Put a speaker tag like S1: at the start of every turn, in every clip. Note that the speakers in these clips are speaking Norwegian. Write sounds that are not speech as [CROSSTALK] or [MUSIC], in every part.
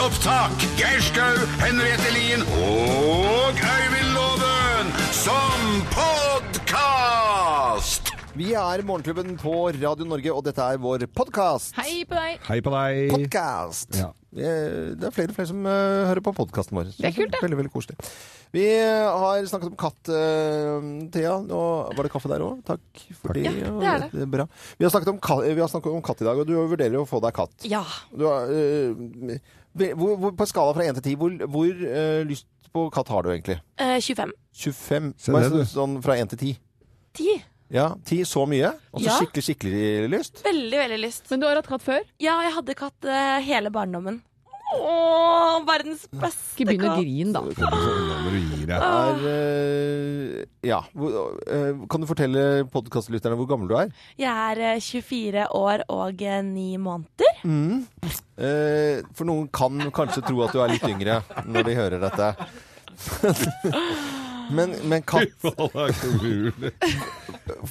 S1: opptak. Geir Skau, Henriette Lien og Øyvind Loven som podkast!
S2: Vi er Morgenklubben på Radio Norge, og dette er vår podkast.
S3: Hei på deg.
S4: Hei på deg.
S2: Podcast.
S4: Ja.
S2: Eh, Det er flere og flere som eh, hører på podkasten vår.
S3: Det er kult, det.
S2: Veldig, veldig koselig. Vi eh, har snakket om katt, eh, Thea. Og var det kaffe der òg? Takk for det.
S3: Ja, det er det.
S2: er bra. Vi har, snakket om, ka- vi har snakket om katt i dag, og du vurderer jo å få deg katt.
S3: Ja.
S2: Du har, eh, hvor, hvor, på en skala fra 1 til 10, hvor, hvor eh, lyst på katt har du egentlig?
S3: Eh, 25.
S2: 25?
S4: Se
S2: Hva er
S4: det, du.
S2: sånn- Sånn fra 1 til 10?
S3: 10.
S2: Ja, 10 så mye? Og så
S3: Ja.
S2: skikkelig, skikkelig lyst?
S3: Veldig, veldig lyst.
S5: Men du har hatt katt før?
S3: Ja, jeg hadde katt eh, hele barndommen. Åh, verdens beste
S5: Ikke begynn å
S3: katt.
S5: grine, da.
S4: Kom sånn, nå må du gi deg.
S2: Er, eh, ja. Hvor- eh, Kan du fortelle podkastlytterne hvor gammel du er?
S3: Jeg er eh, 24 år og 9 måneder.
S2: Eh, for noen kan kanskje tro at du er litt yngre når de hører dette. [LAUGHS] men, men katt,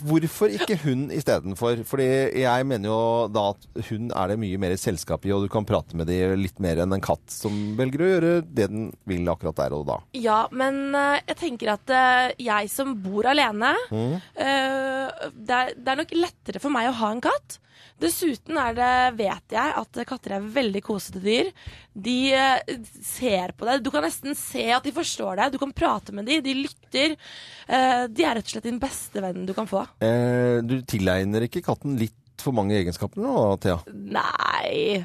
S2: hvorfor ikke hund istedenfor? Fordi jeg mener jo da at hund er det mye mer selskap i, og du kan prate med de litt mer enn en katt som velger å gjøre det den vil akkurat der og da.
S3: Ja, men eh, jeg tenker at eh, jeg som bor alene eh, det, er, det er nok lettere for meg å ha en katt. Dessuten er det, vet jeg at katter er veldig kosete dyr. De eh, ser på deg. Du kan nesten se at de forstår deg. Du kan prate med dem. De lytter. Eh, de er rett og slett din beste venn du kan få.
S2: Eh, du tilegner ikke katten litt for mange egenskaper nå, Thea?
S3: Nei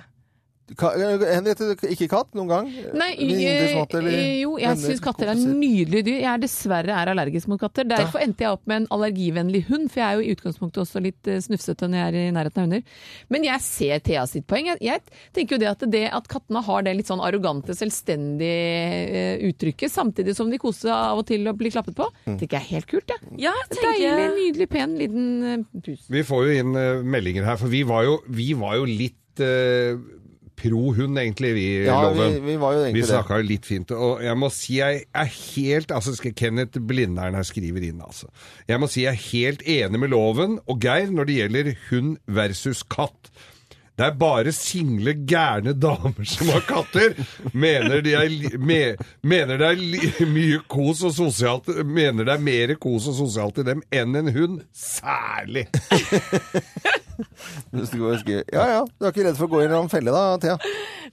S2: Ka eh, Henriette, ikke katt noen gang?
S5: Nei,
S2: Venninner som har hatt,
S5: eh,
S2: eller
S5: eh, jo, jeg
S2: venner,
S5: syns katter er
S2: kompiser?
S5: nydelige dyr. Jeg er dessverre er allergisk mot katter. Derfor endte jeg opp med en allergivennlig hund, for jeg er jo i utgangspunktet også litt eh, snufsete når jeg er i nærheten av hunder. Men jeg ser Thea sitt poeng. Jeg, jeg tenker jo det at, det at kattene har det litt sånn arrogante, selvstendige eh, uttrykket, samtidig som de koser seg av og til og blir klappet på, tenker jeg er helt kult, jeg.
S3: Ja, jeg
S5: Deilig,
S3: tenker
S5: nydelig, pen liten eh, pus.
S4: Vi får jo inn eh, meldinger her, for vi var jo, vi var jo litt eh, pro hund, egentlig, vi,
S2: Ja, vi,
S4: Loven.
S2: vi var jo
S4: Vi
S2: egentlig det.
S4: snakka jo litt fint, og jeg må si jeg er helt altså skal Kenneth Blindern her skriver inn, altså. Jeg må si jeg er helt enig med loven og Geir når det gjelder hund versus katt. Det er bare single gærne damer som har katter. Mener, de er, li- me, mener det er li, mye kos og sosialt Mener det er mer kos og sosialt i dem enn en hund. Særlig!
S2: Du skulle bare skrive- Ja ja, du er ikke redd for å gå i en eller annen felle da, Thea?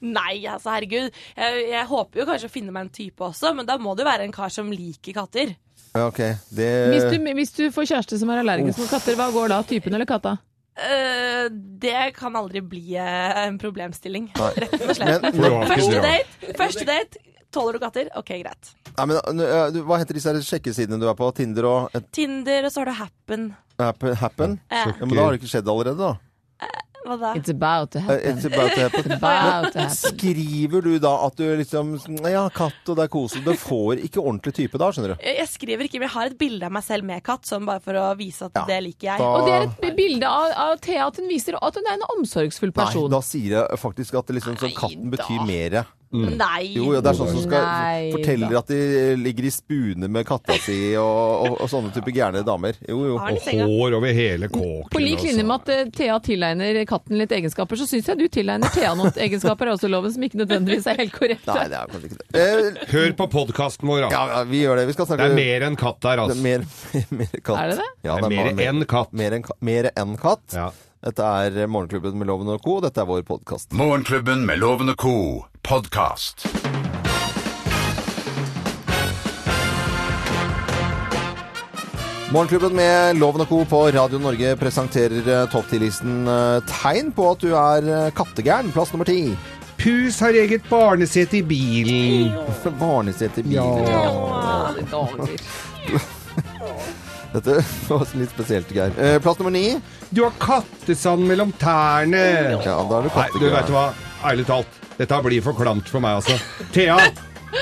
S3: Nei, altså herregud. Jeg, jeg håper jo kanskje å finne meg en type også, men da må det jo være en kar som liker katter.
S2: Ja, ok.
S5: Hvis
S2: Det
S5: du, hvis du får kjæreste som er allergisk mot katter, hva går da? Typen eller katta?
S3: Eh, det kan aldri bli eh, en problemstilling. Rett og slett.
S2: men,
S4: For du har ikke
S3: Første
S4: det, ja.
S3: date, første date. Tåler du katter? OK, greit.
S2: nei, men, ø, du, hva heter disse her sjekkesidene du er på? Tinder og et,
S3: Tinder, og så har du Happen.
S2: happen? happen?
S3: Eh,
S2: Ja, men da har det ikke skjedd allerede, da.
S3: hva da?
S5: It's about to
S2: Eh,
S5: [LAUGHS] happen.
S2: It's about to happen.
S5: About to happen.
S2: Skriver du da at du liksom sånn, Ja, katt og det er koselig. Du får ikke ordentlig type da, skjønner du.
S3: Jeg jeg skriver ikke, men jeg har et bilde av meg selv med katt, sånn bare for å vise at
S2: Ja,
S3: det liker jeg.
S2: da-
S5: Og det er et bilde av, av Thea at hun viser at hun er en omsorgsfull
S2: Nei,
S5: person.
S2: da sier jeg faktisk at det liksom, sånn, katten
S5: Nei, da.
S2: betyr mere.
S3: Nei!
S2: Jo, jo, det er sånn som skal
S5: Nei,
S2: forteller
S5: da.
S2: at de eh, ligger i spune med katta si og, og, og sånne type gærne damer. Jo, jo.
S3: Har den i
S4: Og
S3: senga.
S4: hår over hele altså. kåken.
S5: På lik linje med at eh, Thea tilegner katten litt egenskaper, så syns jeg du tilegner Thea
S2: [LAUGHS]
S5: noen egenskaper er også loven som ikke nødvendigvis er helt korrekte.
S2: Nei, det er kanskje ikke det. Eh,
S4: altså. Hør på podkasten vår, da.
S2: ja, ja, vi gjør det. Vi skal snakke
S4: Det er mer enn katt der,
S2: Det er
S4: altså.
S2: mer, mer [LAUGHS] katt.
S5: Er det det?
S2: Ja,
S4: Det er mer
S2: bare
S4: enn katt.
S2: Mer enn, ka- mer enn katt.
S4: Ja.
S2: Dette er Morgenklubben med Loven og Co. Dette er vår podkast.
S1: Morgenklubben med Loven og co. podkast.
S2: Morgenklubben med Loven og Co. på Radio Norge presenterer eh, topp 10-listen eh, tegn på at du er eh, kattegæren. Plass nummer ti. [LAUGHS]
S4: Pus har eget barnesete i bilen.
S2: Barnesete i bilen. Dette [LAUGHS] var litt spesielt, Geir. Eh, Plass nummer ni.
S4: Du har kattesand mellom tærne.
S2: Ja, da er du
S4: Nei, du vet
S2: kattegæren.
S4: hva? Ærlig talt, dette blir for klamt for meg, altså. Thea,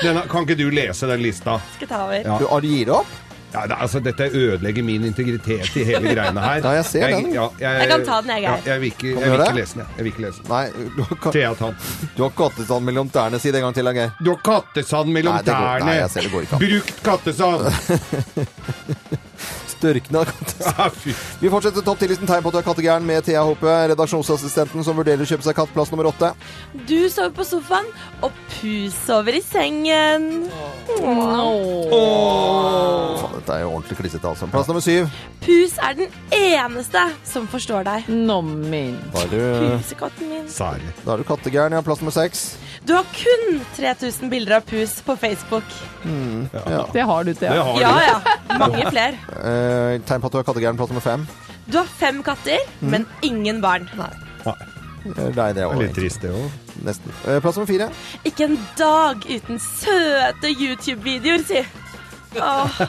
S4: denne, kan ikke du lese den lista?
S3: Skal jeg ta over?
S4: Ja.
S2: Du, ah, du gir opp?
S4: Ja, det, altså, dette ødelegger min integritet i hele greiene her.
S2: Ja, jeg ser den.
S4: ja,
S3: Jeg kan ta den, jeg, Geir.
S4: Ja, jeg vil ikke,
S2: Kan du
S4: jeg vil
S2: gjøre
S4: ikke
S2: det?
S4: lese den. jeg. Jeg vil ikke lese den.
S2: Nei, du har, ka-
S4: Thea, ta den.
S2: du har kattesand mellom tærne. Si det en gang til, da, Geir.
S4: Du har kattesand mellom
S2: Nei, det går-
S4: tærne.
S2: [LAUGHS] nei, jeg ser det går ikke an.
S4: Brukt kattesand.
S2: Dørkene av katt.
S4: Ja, fy.
S2: Vi fortsetter topp 10-listen tegn på at du er kattegæren med Thea Hope, redaksjonsassistenten som vurderer å kjøpe seg katt, plass nummer åtte.
S3: Du sover på sofaen, og Pus sover i sengen.
S2: Faen, dette er jo ordentlig klissete, altså. Plass nummer syv.
S3: Pus er den eneste som forstår deg.
S5: Nå min.
S2: Da er du,
S3: Pusekatten min.
S4: Sare.
S2: da er du kattegæren, ja. Plass nummer seks.
S3: Du har kun 3000 bilder av pus på Facebook.
S5: Det har du, Thea.
S4: Det har
S3: Ja
S4: du.
S3: ja, mange flere.
S2: Eh, tegn på at du er kattegæren, plass nummer fem.
S3: Du har fem katter,
S2: Mhm.
S3: men ingen barn.
S2: Eh, Nei, det er
S4: Det er Litt
S2: over.
S4: trist, det òg.
S2: Nesten. Eh, plass nummer fire.
S3: Ikke en dag uten søte YouTube-videoer, si.
S2: [LAUGHS]
S3: Åh,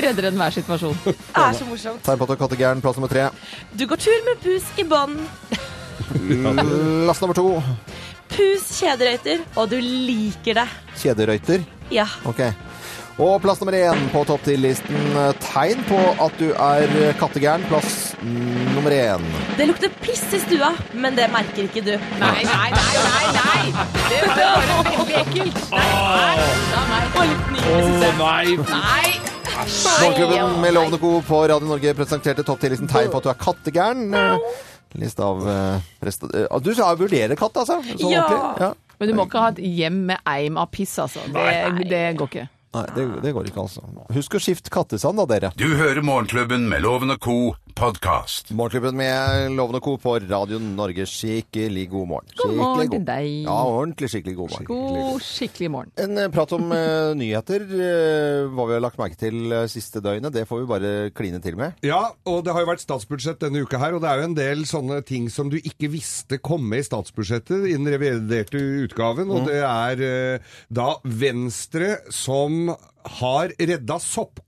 S5: Redder enhver situasjon.
S3: det er så morsomt.
S2: Tegn på at du er kattegæren, plass nummer tre.
S3: Du går tur med pus i bånd.
S2: Last nummer to.
S3: Pus kjederøyter, og du liker det.
S2: Kjederøyter.
S3: Ja.
S2: Ok. Og plass nummer én på topp 10-listen. Tegn på at du er kattegæren, plass nummer én.
S3: Det lukter piss i stua, men det merker ikke du.
S5: Nei, nei, nei, nei! nei. Det var bare veldig ekkelt. Nei, nei, nei, nei. Og litt nydelig, synes jeg. Nei!
S2: Morgenklubben med Lovende Co. på Radio Norge presenterte topp 10-listen tegn på at du er kattegæren. Liste av eh, presta... eh, Du sa vurdere katt, altså? Sånn
S3: Ja.
S2: ordentlig? Ja.
S5: Men du må ikke ha et hjem med eim av piss, altså. Det, det går ikke.
S2: Nei, det, det går ikke, altså. Husk å skifte kattesand, da, dere.
S1: Du hører Morgenklubben med Loven og Co. podkast.
S2: Morgenklubben med Lovende Co. på Radio Norge, skikkelig god morgen.
S5: God
S2: Skikkelig
S5: morgen
S2: god-
S5: til deg.
S2: Ja, ordentlig skikkelig god morgen.
S5: God, skikkelig morgen.
S2: En eh, prat om eh, nyheter, eh, hva vi har lagt merke til eh, siste døgnet, det får vi bare kline til med.
S4: Ja, og det har jo vært statsbudsjett denne uka her, og det er jo en del sånne ting som du ikke visste kom med i statsbudsjettet i den reviderte utgaven,
S2: Mm.
S4: og det er eh, da Venstre som har redda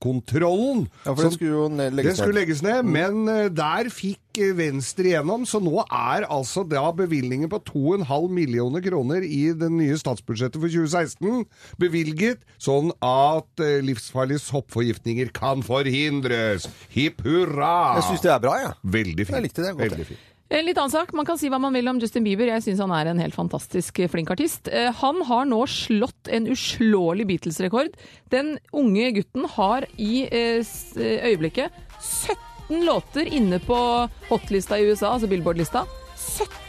S4: soppkontrollen.
S2: Ja, for det
S4: Som-
S2: skulle jo ned-
S4: Det
S2: legges
S4: skulle
S2: ned. Mm.
S4: legges ned, men eh, der fikk eh, Venstre igjennom, så nå er altså da bevilgningen på 2,5 millioner kroner i det nye statsbudsjettet for 2016 bevilget, sånn at eh, livsfarlige soppforgiftninger kan forhindres. Hipp hurra!
S2: Jeg syns det er bra, jeg. Ja.
S4: Veldig fint.
S2: Jeg likte det, godt.
S4: Veldig fint.
S5: En litt annen sak. Man kan si hva man vil om Justin Bieber. Jeg syns han er en helt fantastisk flink artist. Eh, Han har nå slått en uslåelig Beatles-rekord. Den unge gutten har i eh, s- øyeblikket 17 låter inne på hotlista i USA, altså Billboard-lista.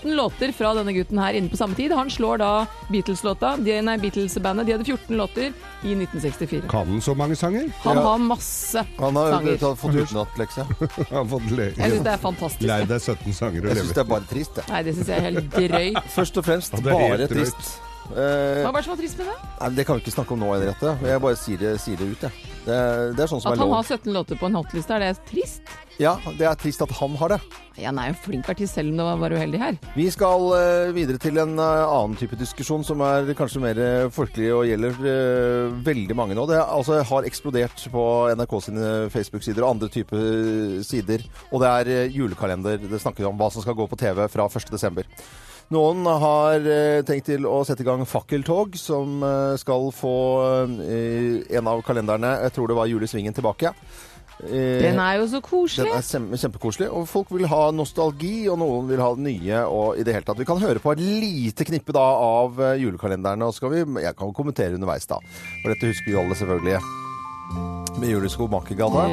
S5: 17 låter fra denne gutten her inne på samme tid. Han slår da Beatles-låta, de- nei, Beatles-bandet. De hadde 14 låter i 1964.
S4: Kan den så mange sanger? [LAUGHS]
S5: Han
S2: Ja.
S5: har masse
S2: Han har jo
S5: sanger.
S2: tatt- fått utenattlekse.
S4: Jeg har fått le
S5: Jeg syns det er fantastisk.
S4: Lei deg 17 sanger å
S2: Jeg syns
S4: leve.
S2: det er bare trist, jeg.
S5: Nei, det syns jeg er helt drøyt.
S2: Først og fremst
S4: det er
S2: bare
S4: helt drøyt.
S2: trist. Eh,
S5: Hva var det som var trist med det?
S2: nei, det kan vi ikke snakke om nå, Henriette. Jeg bare sier det, sier det ut, jeg. Det, er- det er sånn som
S5: At
S2: er
S5: han
S2: lov.
S5: har 17 låter på en hotliste, er det trist?
S2: Ja, det er trist at han har det.
S5: Han er jo en flink artist, selv om det var, var uheldig her.
S2: Vi skal eh, videre til en eh, annen type diskusjon som er kanskje mer eh, folkelig og gjelder eh, veldig mange nå. Det er, altså, har eksplodert på NRK sine Facebook-sider og andre typer sider. Og det er eh, julekalender det snakker om, hva som skal gå på TV fra 1.12. Noen har eh, tenkt til å sette i gang fakkeltog, som eh, skal få eh, en av kalenderne, jeg tror det var Julesvingen, tilbake. Eh,
S5: Den er jo så
S2: den
S5: koselig.
S2: er sem- kjempekoselig, og folk vil ha nostalgi, og noen vil ha det nye, og i det hele tatt. Vi kan høre på et lite knippe da av eh, julekalenderne, og så skal vi, jeg kan kommentere underveis da. For dette husker vi alle selvfølgelig. Med julesko Makergata.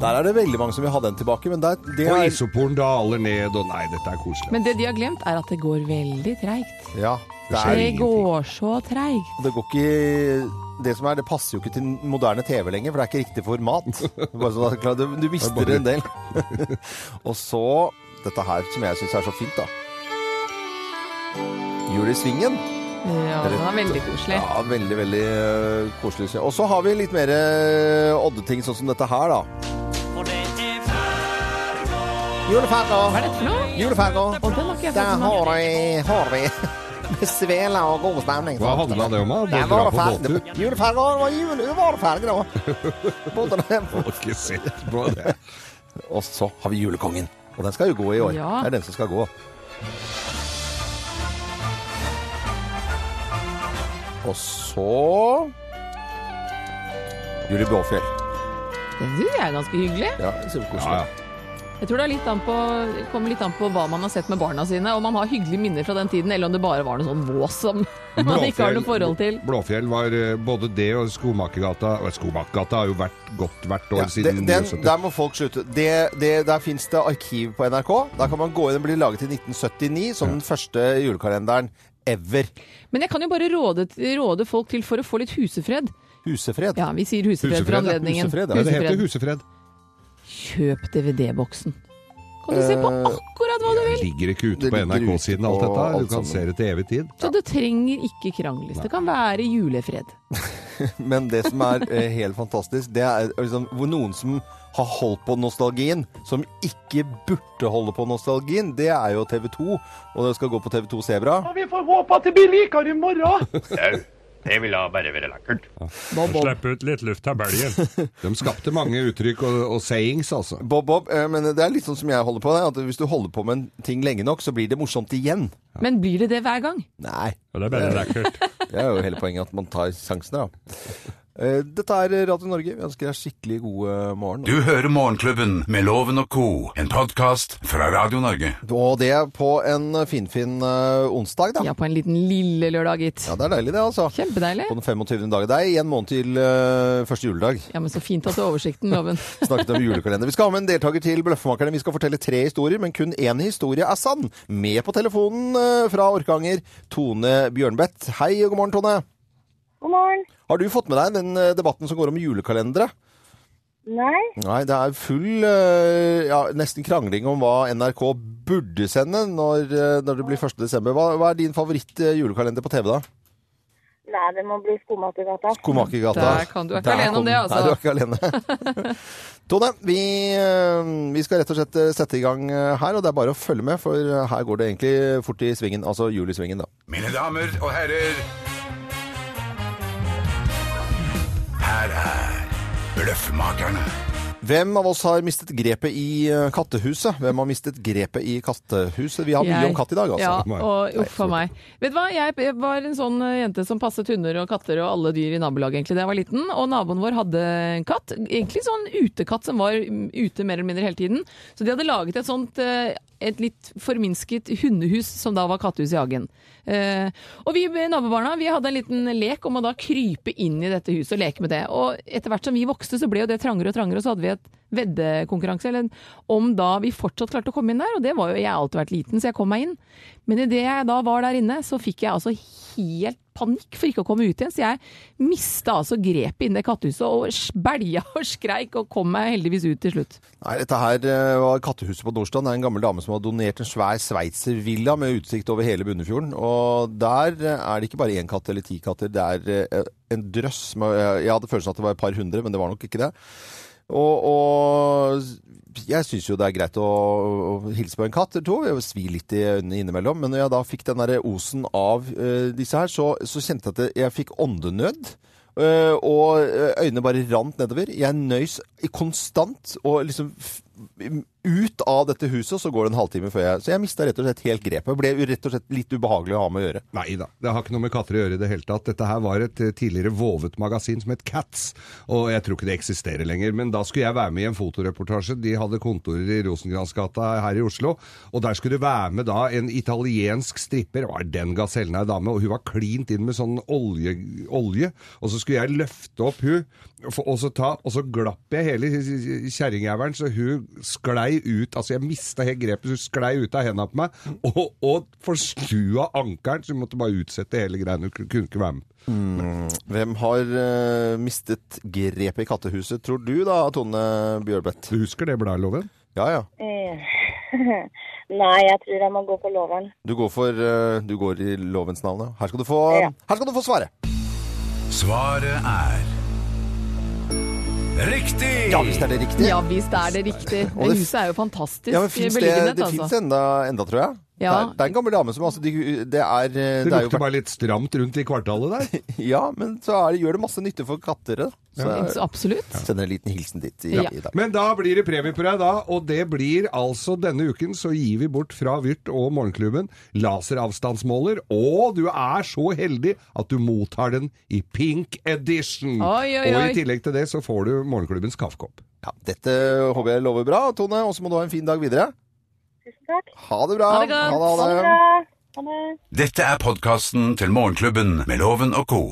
S2: Der er det veldig mange som vil ha den tilbake, men der, det
S4: Og
S2: er...
S4: isoporen daler ned, og nei, dette er koselig.
S5: Men det de har glemt, er at det går veldig treigt.
S2: Ja, det,
S4: er
S5: Det
S4: ingenting.
S5: går så treigt.
S2: er, det går ikke... Det som er, det passer jo ikke til moderne TV lenger, for det er ikke riktig format. Det er Bare sånn at, klar, du, du mister en del. [LAUGHS] og så, dette her som jeg synes er så fint da. Jul i svingen.
S5: Ja, den er veldig koselig.
S2: Ja, veldig, veldig øh, koselig. Og så har vi litt mer øh, oddeting, sånn som dette her, da.
S5: Hva
S2: Juleferga!
S5: er dette for noe?
S2: Juleferga!
S5: Og den har ikke jeg fått
S2: Der
S5: med meg.
S2: har vi, har [LAUGHS] vi. svele og god stemning. sånn.
S4: Hva handla det om? da?
S2: Det
S4: Det
S2: var
S4: drar på
S2: ferg-
S4: båttur?
S2: det- Juleferga det var jul, det var ferg, da. Båtene-
S4: Jeg har ikke sett på det.
S2: [LAUGHS] og så har vi Julekongen. Og den skal jo gå i år.
S5: Ja.
S2: Det er den som skal gå. Og så Julie Bråfjell.
S5: Det syns jeg er ganske hyggelig.
S2: Ja, kjempekoselig.
S4: Ja, ja.
S5: Jeg tror det er litt an på, kommer litt an på hva man har sett med barna sine, om man har hyggelige minner fra den tiden, eller om det bare var noe sånn vås som [LAUGHS] man ikke har noe forhold til.
S4: Blåfjell var eh, både det og Skomakergata. og Skomakergata har jo vært godt hvert
S2: Ja,
S4: år
S2: det,
S4: siden
S2: den,
S4: 70.
S2: der må folk slutte. Det, det, der fins det arkiv på NRK. Der kan man gå inn og bli laget i 1979 som den første julekalenderen ever.
S5: Men jeg kan jo bare råde, råde folk til for å få litt husefred.
S2: Husefred.
S5: Ja, vi sier husefred,
S4: Husefred,
S5: for
S4: ja.
S5: anledningen.
S2: Husefred, ja.
S4: Ja, det heter Husefred.
S5: Kjøp DVD-boksen. Kan du se på
S2: Eh,
S5: akkurat hva du vil?
S4: Ligger ikke ute
S2: Det
S4: på
S2: ligger
S4: NRK-siden, alt
S2: ute på
S4: dette. her.
S2: alt
S4: Du kan se
S2: sammen.
S4: det til evig tid.
S5: Så det trenger ikke krangles. Det kan være julefred.
S2: Men det som er eh, helt fantastisk, det er liksom hvor noen som har holdt på nostalgien, som ikke burde holde på nostalgien, det er jo TV 2. Og det skal gå på TV 2 Sebra.
S6: Vi får håpe at det blir likere i
S7: [LAUGHS]
S6: morgen.
S7: Det vil da bare være lekkert.
S5: Bob, Bob.
S8: Slipp ut litt luft av belgen.
S4: De skapte mange uttrykk og, og sayings, altså.
S2: Bob, Bob, eh, men det er litt sånn som jeg holder på, det, at hvis du holder på med en ting lenge nok, så blir det morsomt igjen.
S5: Men blir det det hver gang?
S2: Nei.
S8: Og det er
S4: Eh,
S8: bare lekkert.
S2: Det er jo hele poenget at man tar sjansene, da. Eh, Dette er Radio Norge. Vi ønsker deg skikkelig god eh, morgen.
S1: Du hører Morgenklubben med Loven og co., en podkast fra Radio Norge.
S2: Og det på en finfin eh, onsdag, da.
S5: Ja, på en liten lille lørdag, gitt.
S2: Ja, det er deilig, det, altså.
S5: Kjempedeilig.
S2: På den 25. dagen. Det er én måned til eh, første juledag.
S5: Ja, men så fint at du har oversikten,
S2: [LAUGHS]
S5: Loven.
S2: Snakket om julekalender. Vi skal ha med en deltaker til Bløffmakerne. Vi skal fortelle tre historier, men kun én historie er sann. Med på telefonen eh, fra Orkanger, Tone Bjørnbeth. Hei og god morgen, Tone.
S9: God morgen.
S2: Har du fått med deg den eh, debatten som går om julekalendere?
S9: Nei,
S2: Nei, det er full eh, ja, nesten krangling om hva NRK burde sende når, eh, når det blir 1. desember. Hva, hva er din favoritt eh, julekalender på TV da?
S9: nei, det må bli skomakergata.
S2: Komakergata.
S5: Der kan du- du er ikke alene om det, altså.
S2: Nei, du er ikke alene.
S5: [LAUGHS]
S2: Tone, vi, eh, vi skal rett og slett eh, sette i gang eh, her, og det er bare å følge med, for eh, her går det egentlig fort i svingen, altså julesvingen da.
S1: Mine damer og herrer Her er Bløffmakerne.
S2: Hvem av oss har mistet grepet i eh, kattehuset? Hvem har mistet grepet i kattehuset? Vi har mye
S5: Jeg-
S2: om katt i dag, altså.
S5: Ja, og uff a meg. Vet du hva, jeg jeg var en sånn eh, jente som passet hunder og katter og alle dyr i nabolaget egentlig da jeg var liten. Og naboen vår hadde en katt. Egentlig sånn utekatt som var mm, ute mer eller mindre hele tiden. Så de hadde laget et sånt eh, et litt forminsket hundehus som da var kattehus i hagen. Eh, og vi eh, nabobarna vi hadde en liten lek om å da krype inn i dette huset og leke med det. Og etter hvert som vi vokste så ble jo det trangere og trangere, og så hadde vi et veddekonkurranse eller en, om da vi fortsatt klarte å komme inn der. Og det var jo jeg har alltid vært liten, så jeg kom meg inn. Men idet jeg da var der inne, så fikk jeg altså helt panikk for ikke å komme ut igjen. Så jeg mista altså grepet inni det kattehuset og s- bælja og skreik og kom meg heldigvis ut til slutt.
S2: Nei, dette her eh, var Kattehuset på Nordstrand. Det er en gammel dame som har donert en svær sveitservilla med utsikt over hele Bunnefjorden. Og der eh, er det ikke bare én katt eller ti katter, det er eh, en drøss. med- eh, Jeg hadde følelsen at det var et par hundre, men det var nok ikke det. Og, og jeg syns jo det er greit å, å hilse på en katt eller to. Jeg svir litt i øynene innimellom. Men når jeg da fikk den der osen av eh, disse her, så, så kjente jeg at jeg- jeg fikk åndenød. eh, og øynene bare rant nedover. Jeg nøys i- konstant og liksom f ut av dette huset, og så går det en halvtime før jeg Så jeg mista rett og slett helt grepet. Ble jo rett og slett litt ubehagelig å ha med å gjøre.
S4: Nei da, det har ikke noe med katter å gjøre i det hele tatt. Dette her var et eh, tidligere vovet magasin som het Cats, og jeg tror ikke det eksisterer lenger. Men da skulle jeg være med i en fotoreportasje. De hadde kontorer i Rosengransgata her i Oslo, og der skulle det være med da en italiensk stripper, det var den gasellen ei dame, og hun var klint inn med sånn olje, olje og så skulle jeg løfte opp hun, for- og så, ta, og så glapp jeg hele kjerringjævelen, så hun sklei ut, altså jeg mista helt grepet, så hun sklei ut av hendene på meg, og, og forstua ankeren, så vi måtte bare utsette hele greiene. Hun kunne ikke være med.
S2: Hvem har eh, mistet grepet i kattehuset, tror du da, Tone Bjørbeth?
S4: Du husker det bladloven?
S2: Ja ja.
S9: Eh, [LAUGHS] nei, jeg tror jeg må gå for loveren.
S2: Du går, for, eh, du går i lovens navn, ja. Her skal du få,
S9: Ja.
S2: her skal du få svare.
S1: Svaret er Riktig!
S2: Ja, hvis det er det riktige.
S5: Ja visst er det riktig.
S2: Og
S5: Det
S2: det-
S5: huset er jo fantastisk
S2: Ja, men finnes det,
S5: beliggenhet,
S2: det finnes
S5: altså.
S2: enda, enda, tror jeg.
S5: Ja.
S2: Det, er, det er en gammel dame som altså, de, det, er, eh,
S4: Det
S2: det er
S4: lukter
S2: jo,
S4: bare litt stramt rundt i kvartalet der.
S2: Ja, men så er det, gjør det masse nytte for katter. da. Så jeg
S5: Absolutt.
S2: sender en liten hilsen dit i,
S5: Ja.
S2: i dag.
S4: Men da blir det premie på deg, da. Og det blir altså denne uken så gir vi bort fra Vyrt og Morgenklubben laseravstandsmåler. Og du er så heldig at du mottar den i pink edition.
S5: Oi, oi,
S4: Og
S5: oi.
S4: i tillegg til det så får du Morgenklubbens kaffekopp.
S2: Ja, dette håper jeg lover bra, Tone. Og så må du ha en fin dag videre.
S9: Tusen takk.
S2: Ha det bra.
S3: Ha det godt.
S9: Ha det bra. Ha det.
S1: Dette er podkasten til Morgenklubben med Loven og co.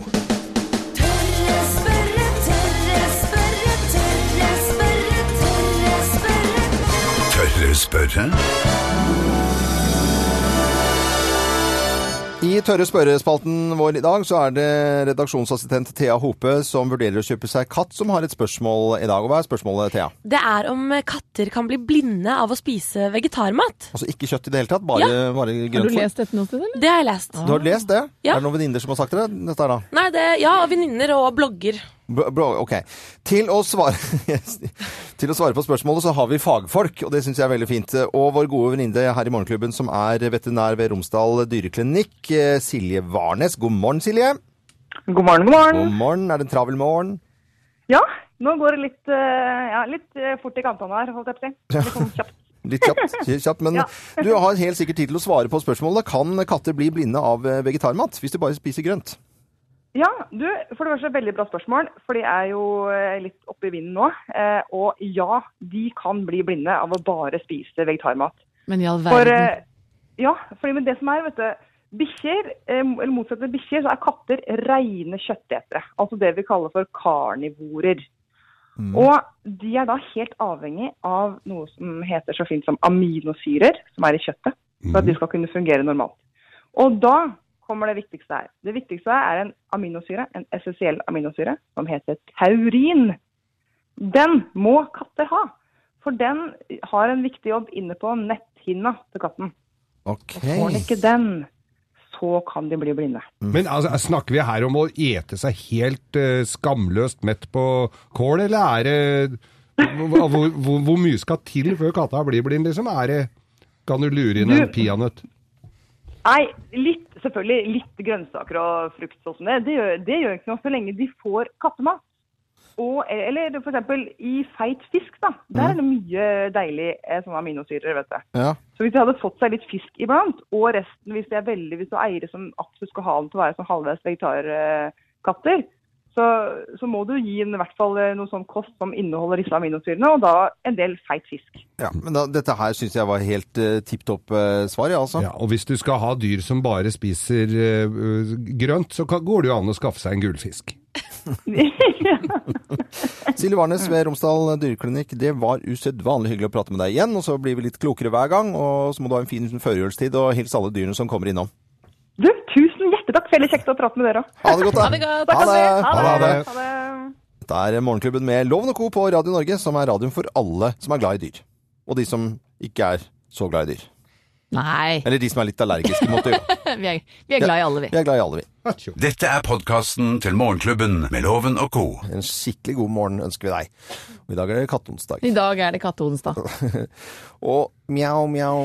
S1: Tørre spørre?
S2: I tørre spørrespalten vår i dag så er det redaksjonsassistent Thea Hope som vurderer å kjøpe seg katt, som har et spørsmål i dag. Og hva er spørsmålet, Thea?
S3: Det er om katter kan bli blinde av å spise vegetarmat.
S2: Altså ikke kjøtt i det hele tatt, bare, bare
S5: Har du
S2: grønt. for-
S5: lest dette noe sted, eller?
S3: Det har jeg lest.
S2: Du har lest det?
S3: Ja.
S2: Er det noen venninner som har sagt det? Dette er da.
S3: Nei, det, ja, og venninner og blogger.
S2: Bra- bra, ok. Til å, svare, [LAUGHS] til å svare på spørsmålet så har vi fagfolk, og det syns jeg er veldig fint. Og vår gode venninne her i Morgenklubben som er veterinær ved Romsdal dyreklinikk, eh, Silje Varnes. God morgen, Silje.
S10: God morgen, god morgen.
S2: God morgen. Er det en travel morgen?
S10: Ja, nå går det litt, eh, ja, litt eh, fort i kantene her, holdt jeg på å si. Litt sånn kjapt.
S2: Litt
S10: [LAUGHS]
S2: kjapt, kjapt men
S10: Ja.
S2: du har helt sikkert tid til å svare på spørsmålet. Kan katter bli blinde av eh, vegetarmat hvis de bare spiser grønt?
S10: Ja, du, for det første veldig bra spørsmål, for de er jo eh, litt oppe i vinden nå. Eh, og ja, de kan bli blinde av å bare spise vegetarmat.
S5: Men i all
S10: For,
S5: verden.
S10: eh, ja, fordi med det som er, vet du, bikkjer, eh, eller motsatt av bikkjer, så er katter rene kjøttetere. Altså det vi kaller for karnivorer. Og de er da helt avhengig av noe som heter så fint som aminosyrer, som er i kjøttet, for at de skal kunne fungere normalt. Og da kommer det viktigste her. Det viktigste her er en aminosyre, en essensiell aminosyre, som heter taurin. Den må katter ha, for den har en viktig jobb inne på netthinna til katten.
S2: Ok.
S10: Får den ikke den, så kan de bli blinde.
S4: Men altså, snakker vi her om å ete seg helt eh, skamløst mett på kål, eller er det hvor, hvor, hvor, hvor mye skal til før katta blir blind, liksom? Er det Kan du lure inn en
S10: Du-
S4: peanøtt?
S10: Nei, litt, selvfølgelig litt grønnsaker og frukt og sånn. Det, gjør, det gjør ikke noe så lenge de får kattemat. Og, eller f.eks. i feit fisk, da. Der er det mye deilig eh, sånne aminosyrer, vet du.
S2: Ja.
S10: Så hvis de hadde fått seg litt fisk iblant, og resten hvis de er veldig, hvis du er eiere som absolutt skal ha dem til å være sånn halvveis vegetarkatter, så, så må du gi dem i hvert fall eh, noe sånn kost som inneholder disse aminosyrene, og da en del feit fisk. [LAUGHS]
S2: ja.
S4: Mhm.
S2: Men da, dette her syns jeg var helt uh, tipp topp eh, svar, ja, altså.
S4: Ja, og hvis du skal ha dyr som bare spiser eh, eh, grønt, så kan, går det jo an å skaffe seg en gullfisk.
S2: Silje Warnes
S3: Mm.
S2: ved Romsdal dyreklinikk, det var usedvanlig hyggelig å prate med deg igjen. Og så blir vi litt klokere hver gang, og så må du ha en fin førjulstid, og hils alle dyrene som kommer innom.
S10: Du, tusen hjertelig takk. Veldig kjekt å prate med dere òg.
S2: Ha det godt, da!
S3: Ha det godt.
S2: Ha det!
S4: Ha det.
S10: Ha det.
S2: Det er Morgenklubben med Loven og Co. på Radio Norge, som er radioen for alle som er glad i dyr. Og de som ikke er så glad i dyr.
S5: Nei, [LAUGHS]
S2: Eller de som er litt allergiske mot dyr.
S3: [LAUGHS]
S5: vi er, vi er glad i alle, vi.
S2: Vi er glad i alle, vi.
S4: Atjo.
S1: Dette er podkasten til Morgenklubben med Loven og co.
S2: En skikkelig god morgen ønsker vi deg. Og i dag er det kattonsdag.
S5: I dag er det katteonsdag.
S2: Og mjau, mjau.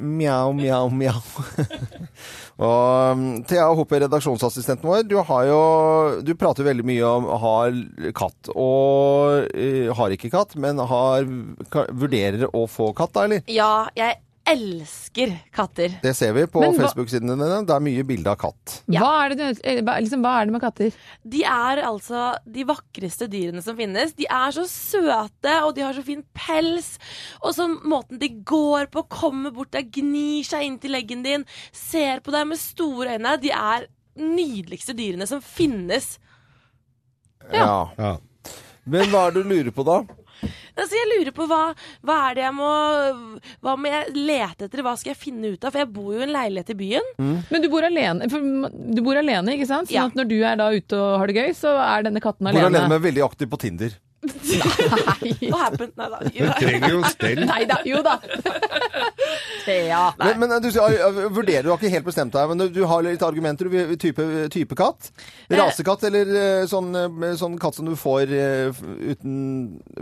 S2: Mjau, mjau, mjau. [LAUGHS] og um, Thea Hoppe, redaksjonsassistenten vår, du har jo Du prater veldig mye om har katt og eh, har ikke katt, men har ka, vurderer å få katt, da, eller?
S3: Ja, jeg elsker katter.
S2: Det ser vi på
S5: Men hva-
S2: Facebook-sidene dine. Det er mye bilde av katt.
S5: Hva, er det, du- eller, hva- liksom, hva er det med katter?
S3: De er altså de vakreste dyrene som finnes. De er så søte, og de har så fin pels. Og så måten de går på, kommer bort deg, gnir seg inn til leggen din, ser på deg med store øyne. De er nydeligste dyrene som finnes.
S2: Ja.
S4: [LAUGHS] Ja.
S2: Men hva er det du lurer på, da?
S3: Altså, jeg lurer på hva, hva er det jeg må Hva må jeg lete etter? Hva skal jeg finne ut av? For jeg bor jo i en leilighet i
S4: [LAUGHS]
S3: byen.
S5: Men du bor alene, for du bor alene ikke sant? Sånn
S3: Ja.
S5: at når du er da ute og har det gøy, så er denne katten
S2: Hvor
S5: alene.
S2: alene med veldig aktiv på Tinder.
S5: Nei.
S3: Hva happened? Nei da.
S4: Hun [LAUGHS] trenger jo stell.
S5: Nei da, jo da. Thea.
S2: Men, men du sier, ja, ja, vurderer, du har ikke helt bestemt deg, men du, du har litt argumenter. Du, vil- type, type katt? Rasekatt eller eh, sånn, eh, sånn katt som du får eh, f- uten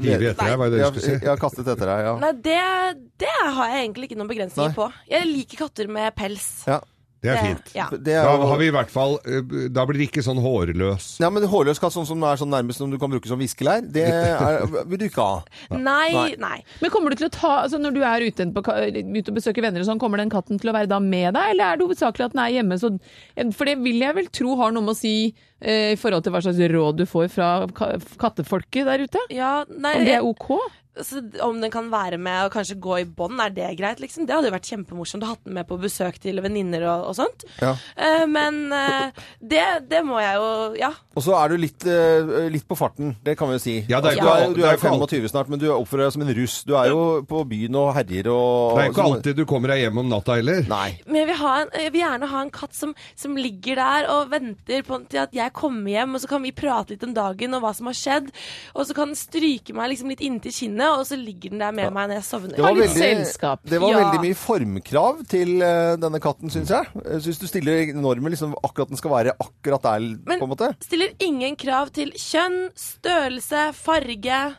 S4: Hive etter deg, var det det
S2: Ja,
S4: du skulle si?
S2: Ja, kastet etter deg, ja.
S3: Nei, det, det har jeg egentlig ikke noen begrensninger
S2: Nei.
S3: på. Jeg liker katter med pels.
S2: ja.
S4: Det er
S3: Det-
S4: fint.
S3: Ja.
S2: Det er
S4: Da
S2: jo-
S4: har vi i hvert fall eh, Da blir det ikke sånn hårløs.
S2: Ja, men hårløs katt, sånn som er sånn nærmest som du kan bruke som viskelær, det er, vil du ikke ha.
S3: Nei,
S2: Nei.
S3: nei.
S5: Men kommer du til å ta, altså Når du er ute, på, ka- ute og besøker venner, og sånn, kommer den katten til å være da med deg, eller er det hovedsakelig at den er hjemme? Så, eh, for det vil jeg vel tro har noe med å si eh, i forhold til hva slags råd du får fra ka kattefolket der ute?
S3: Ja, nei
S5: Om det er OK?
S3: så om den kan være med og kanskje gå i bånd, er det greit? liksom? Det hadde jo vært kjempemorsomt å hatt den med på besøk til venninner og, og sånt.
S2: Ja.
S3: Eh, men eh, det, det må jeg jo Ja.
S2: Og så er du litt, eh, litt på farten, det kan vi jo si.
S4: Ja, det
S2: Altså,
S4: er ikke
S2: du
S4: alt-
S2: er, du
S4: det er
S2: er
S4: ikke alt.
S2: 25 snart, men du oppfører deg som en russ. Du er jo på byen og herjer og
S4: Det er ikke
S2: som-
S4: alltid du kommer deg hjem om natta heller.
S2: Nei.
S3: Men jeg vil, ha en, jeg vil gjerne ha en katt som, som ligger der og venter på, til at jeg kommer hjem, og så kan vi prate litt om dagen og hva som har skjedd. Og så kan den stryke meg liksom litt inntil kinnet, og så ligger den der med meg når jeg sovner.
S5: var- litt selskap.
S2: Det var
S3: Ja.
S2: veldig mye formkrav til eh, denne katten, syns jeg. Jeg syns du stiller normer liksom akkurat den skal være akkurat der,
S3: Men-
S2: på en måte.
S3: Stiller ingen krav til kjønn, størrelse, farge.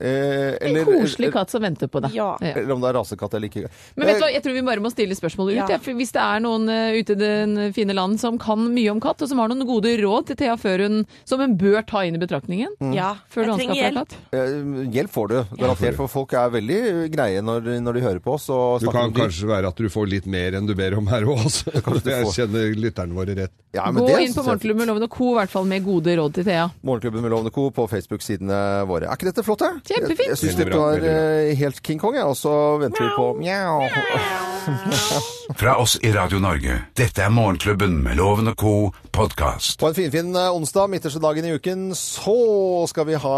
S2: Eh, eller,
S5: En koselig katt som venter på deg.
S3: Ja.
S2: Eller om det er rasekatt eller ikke.
S5: Men vet du
S2: Eh,
S5: hva, jeg tror vi bare må stille spørsmålet ut.
S3: Ja.
S5: jeg, for Hvis det er noen eh, ute i den fine land som kan mye om katt, og som har noen gode råd til Thea før hun, som hun bør ta inn i betraktningen
S3: Ja.
S5: før du anskaffer
S3: jeg trenger
S5: deg
S3: hjelp.
S5: katt.
S2: Eh, Mm. Hjelp får du, garantert, for folk er veldig greie når, når de hører på oss. Og
S4: Du
S2: snakker
S4: kan
S2: om dyr.
S4: kanskje være at du får litt mer enn du ber om her òg, altså. [LAUGHS] Jeg kjenner lytterne våre rett.
S2: ja, men
S5: Gå
S2: det
S5: inn på
S2: synes jeg er
S5: Morgenklubben
S2: fint.
S5: med Loven og Co. i hvert fall med gode råd til Thea.
S2: Morgenklubben med Lovende Co. på Facebook-sidene våre. Er ikke dette flott, da?
S5: Kjempefint.
S2: Jeg, jeg syns
S4: Veldig
S2: dette
S4: bra,
S2: var
S4: veldig
S2: eh, helt King Kong, jeg. Og så venter vi på mjau.
S1: Fra oss i Radio Norge. Dette er Morgenklubben med Loven og co. podkast.
S2: På en finfin eh, onsdag, midterste dagen i uken, så skal vi ha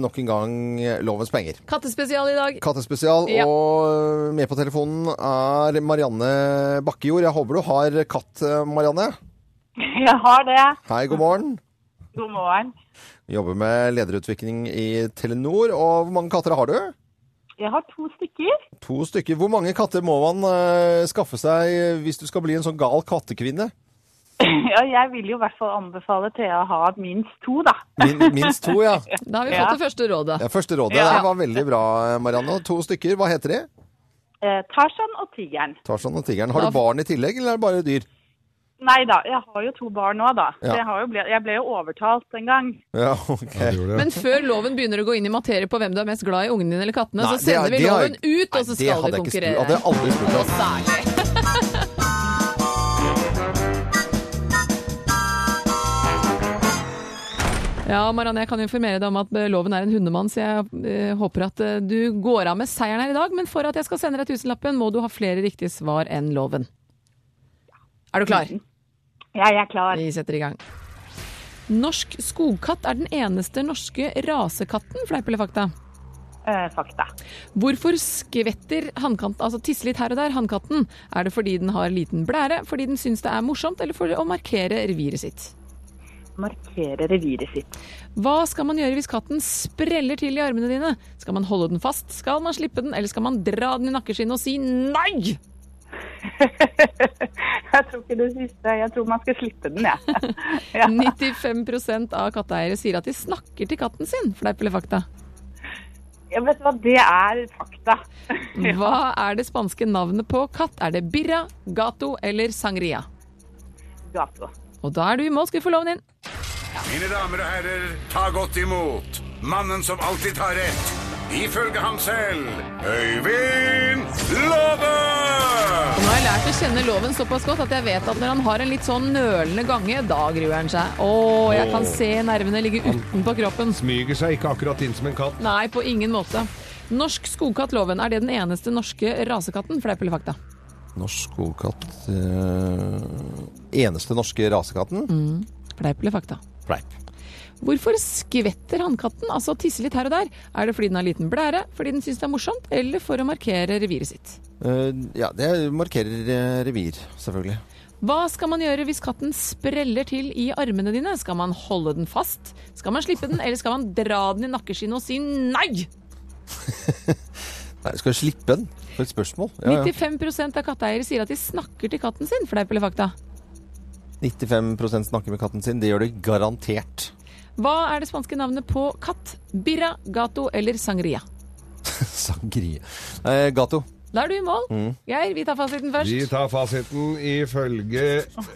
S2: nok en gang Lovens penger.
S5: Kattespesial i dag.
S2: Kattespesial,
S5: Ja.
S2: og med på telefonen er Marianne Bakkejord. Jeg håper du har katt, eh, Marianne.
S10: [LAUGHS] Jeg har det.
S2: Hei, god morgen.
S10: God morgen.
S2: Jobber med lederutvikling i Telenor. Og hvor mange katter har du?
S10: Jeg har to stykker. [CLEARS THROAT]
S2: To stykker. Hvor mange katter må man eh, skaffe seg hvis du skal bli en sånn gal kattekvinne?
S10: Ja, jeg vil jo i hvert fall anbefale Thea å ha minst to, da.
S2: Min, minst to, ja.
S5: Da har vi
S10: Ja.
S5: fått det første rådet.
S2: Det er første rådet.
S10: Ja.
S2: Det var veldig bra, Marianne. To stykker. Hva heter de?
S10: Eh, Tarzan og tigeren.
S2: Tarzan og tigeren. Har du barn i tillegg, eller er det bare dyr?
S10: Nei da, jeg har jo to barn nå, da.
S2: Ja.
S10: Så jeg, har jo ble, jeg ble jo overtalt en gang.
S2: Ja, ok.
S4: Ja, du gjorde det.
S5: Men før loven begynner å gå inn i materie på hvem du er mest glad i, ungene dine eller kattene,
S2: Nei,
S5: så
S2: det er-
S5: sender vi
S2: det har
S5: loven
S2: jeg-
S5: ut,
S2: Nei,
S5: og så
S2: det
S5: skal
S2: hadde
S5: de
S2: jeg ikke spurt-
S5: konkurrere.
S2: Hadde jeg aldri spurt om.
S5: Og så er det- Ja, Marianne, jeg kan informere deg om at eh, loven er en hundemann, så jeg eh, håper at eh, du går av med seieren her i dag. Men for at jeg skal sende deg tusenlappen, må du ha flere riktige svar enn loven. Er du klar?
S10: Jeg er klar.
S5: Vi setter i gang. Norsk skogkatt er den eneste norske rasekatten, fleip eller fakta?
S10: Eh, fakta.
S5: Hvorfor skvetter hannkatten, altså tisser litt her og der, hannkatten? Er det fordi den har liten blære, fordi den syns det er morsomt, eller for å markere reviret sitt?
S10: Markere reviret sitt. [LAUGHS]
S5: Hva skal man gjøre hvis katten spreller til i armene dine? Skal man holde den fast, skal man slippe den, eller skal man dra den i nakkeskinnet og si nei?
S10: jeg tror ikke det siste. Jeg tror man skal slippe den, jeg. [LAUGHS] Ja.
S5: 95 av katteeiere sier at de snakker til katten sin, fleip eller fakta.
S10: Jeg vet hva, det er fakta. [LAUGHS]
S5: Hva er det spanske navnet på katt? Er det birra, gato eller sangria?
S10: Gato.
S5: Og da er du i mål, skal vi få loven inn.
S1: Mine damer og herrer, ta godt imot mannen som alltid tar rett. Ifølge ham selv Øyvind Låve!
S5: Og Nå har jeg lært å kjenne loven såpass godt at jeg vet at når han har en litt sånn nølende gange, da gruer han seg. Å, jeg kan se nervene ligge utenpå kroppen.
S4: Smyger seg ikke akkurat inn som en katt.
S5: Nei, på ingen måte. Norsk skogkattloven, er det den eneste norske rasekatten? Fleip eller fakta?
S2: Norsk skogkatt eh, Eneste norske rasekatten?
S5: Mm. Fleip eller fakta?
S2: Fleip.
S5: Hvorfor skvetter hannkatten, altså tisser litt her og der? Er det fordi den har liten blære, fordi den syns det er morsomt, eller for å markere reviret sitt?
S2: Eh, ja, det markerer eh, revir, selvfølgelig.
S5: Hva skal man gjøre hvis katten spreller til i armene dine? Skal man holde den fast? Skal man slippe den, eller skal man dra den i nakkeskinnet og si nei?
S2: Nei, skal vi slippe den? For et spørsmål. Ja, ja.
S5: 95 av katteeiere sier at de snakker til katten sin, fleip eller fakta.
S2: 95 snakker med katten sin. Det gjør det garantert. [LAUGHS]
S5: Hva er det spanske navnet på katt? Birra, gato eller sangria?
S2: Sangrie. Eh, gato.
S5: Da er du i mål. Geir, vi tar fasiten først.
S4: Mm. Vi tar fasiten. Ifølge